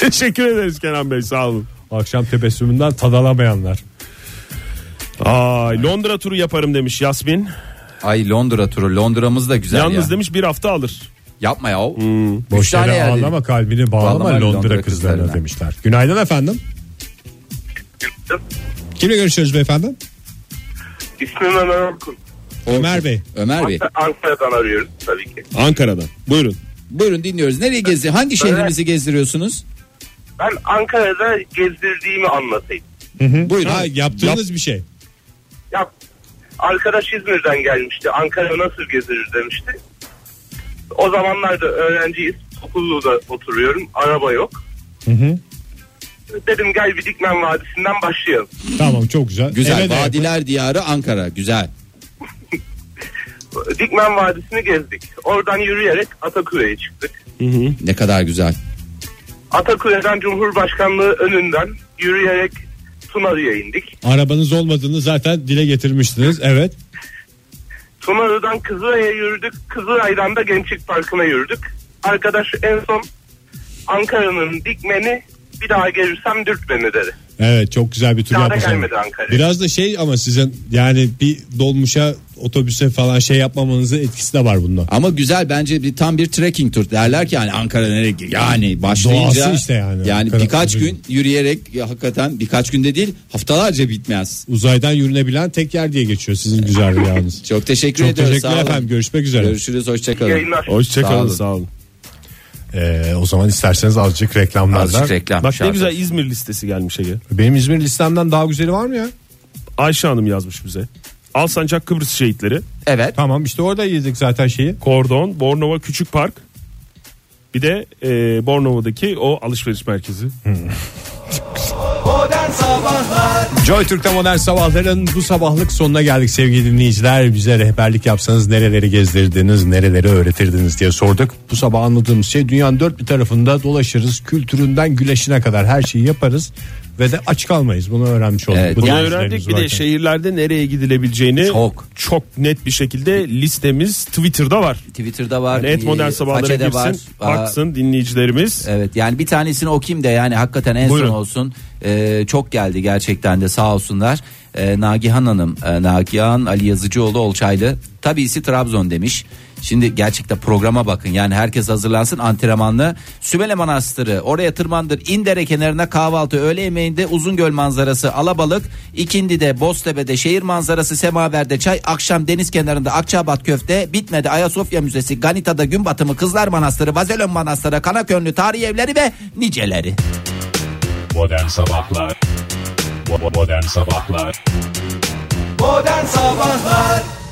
S6: Teşekkür ederiz Kenan Bey sağ olun.
S2: Akşam tebessümünden tadalamayanlar.
S6: Aa, Londra turu yaparım demiş Yasmin.
S5: Ay Londra turu Londra'mız da güzel
S6: Yalnız Hmm.
S5: ya.
S6: demiş bir hafta alır.
S5: Yapma ya.
S2: Boş
S5: tane
S2: yere
S5: yer dedi.
S2: ağlama kalbini bağlama,
S5: Bağlama
S2: Londra,
S5: Londra
S2: kızlarına,
S5: kızlarına.
S2: demişler. Günaydın efendim. Kimle görüşüyoruz beyefendi?
S7: İsmim Ömer Orkun.
S2: Ömer Bey.
S5: Ömer Bey
S7: Ankara'dan arıyoruz tabii ki.
S6: Ankara'dan. Buyurun.
S5: buyurun dinliyoruz. Nereye gezi? Hangi şehrimizi gezdiriyorsunuz?
S7: Ben Ankara'da gezdirdiğimi anlatayım.
S5: Buyurun.
S2: Ha, yaptığınız bir şey.
S7: Ya arkadaş İzmir'den gelmişti. Ankara nasıl gezilir demişti. O zamanlarda öğrenciyiz. Okullu'da oturuyorum. Araba yok. Dedim gel bir Dikmen Vadisi'nden başlayalım.
S2: Tamam çok güzel.
S5: Güzel.
S2: Eve de-
S5: Vadiler diyarı Ankara. Güzel.
S7: Dikmen Vadisi'ni gezdik. Oradan yürüyerek Ataköy'e çıktık.
S5: Ne kadar güzel.
S7: Ataköy'den Cumhurbaşkanlığı önünden yürüyerek Tunalı'ya indik.
S2: Arabanız olmadığını zaten dile getirmiştiniz. Evet.
S7: Tunalı'dan Kızılay'a yürüdük. Kızılay'dan da Gençlik Parkı'na yürüdük. Arkadaş en son Ankara'nın Dikmen'i bir daha gelirsem Dürtmen'i dedi.
S2: Evet çok güzel bir tur
S7: Daha da
S2: yapmışsınız.
S7: gelmedi Ankara'ya.
S2: Biraz da şey ama sizin yani bir dolmuşa otobüse falan şey yapmamanızın etkisi de var bunda.
S5: Ama güzel bence bir tam bir trekking tur derler ki yani Ankara nereye yani başlayınca
S2: Doğası işte yani.
S5: yani
S2: Ankara
S5: birkaç
S2: turizmi.
S5: gün yürüyerek ya hakikaten birkaç günde değil haftalarca bitmez.
S2: Uzaydan yürünebilen tek yer diye geçiyor sizin güzel rüyanız.
S5: Çok teşekkür
S2: Çok
S5: ediyoruz.
S2: teşekkürler
S5: sağ olun.
S2: efendim. Görüşmek üzere.
S5: Görüşürüz hoşçakalın.
S7: Yayınlar.
S5: Sağ olun.
S6: Hoşçakalın sağ olun.
S2: Ee, o zaman isterseniz azıcık reklamlardan.
S5: Azıcık reklam.
S6: Bak ne
S5: şarkı.
S6: güzel İzmir listesi gelmiş Ege.
S2: Benim İzmir listemden daha güzeli var mı ya?
S6: Ayşe Hanım yazmış bize. Alsancak Kıbrıs şehitleri.
S5: Evet.
S2: Tamam işte orada yedik zaten şeyi.
S6: Kordon, Bornova Küçük Park. Bir de e, Bornova'daki o alışveriş merkezi.
S9: Modern Sabahlar
S2: Joy Türk'te modern sabahların bu sabahlık sonuna geldik sevgili dinleyiciler. Bize rehberlik yapsanız nereleri gezdirdiniz, nereleri öğretirdiniz diye sorduk. Bu sabah anladığımız şey dünyanın dört bir tarafında dolaşırız. Kültüründen güleşine kadar her şeyi yaparız ve de aç kalmayız. Bunu öğrenmiş olduk.
S5: Evet,
S2: Bu da
S6: Bunu
S5: Yani
S6: öğrendik
S2: bizlerimiz
S6: bir de şey
S2: varken.
S6: şehirlerde nereye gidilebileceğini
S5: Çok.
S6: çok net bir şekilde listemiz Twitter'da var.
S5: Twitter'da var.
S6: Yani et
S5: e,
S6: modern sabahlara
S5: façede
S6: girsin,
S5: var. Aa,
S6: baksın dinleyicilerimiz.
S5: Evet yani bir tanesini okuyayım da yani hakikaten en
S6: Buyurun.
S5: son olsun. Ee, çok geldi gerçekten de sağ olsunlar. Ee, Nagihan Hanım, e, Nagihan Ali Yazıcıoğlu Olçaylı. Tabisi Trabzon demiş. Şimdi gerçekten programa bakın yani herkes hazırlansın antrenmanlı. Sümele Manastırı oraya tırmandır İndere kenarına kahvaltı öğle yemeğinde Uzungöl manzarası Alabalık İkindi'de Boztepe'de şehir manzarası Semaver'de çay akşam deniz kenarında Akçabat köfte bitmedi Ayasofya Müzesi Ganita'da gün batımı Kızlar Manastırı Vazelon Manastırı Kanakönlü tarihi evleri ve niceleri.
S11: Modern Sabahlar Bo- bo- Modern Sabahlar
S9: Modern Sabahlar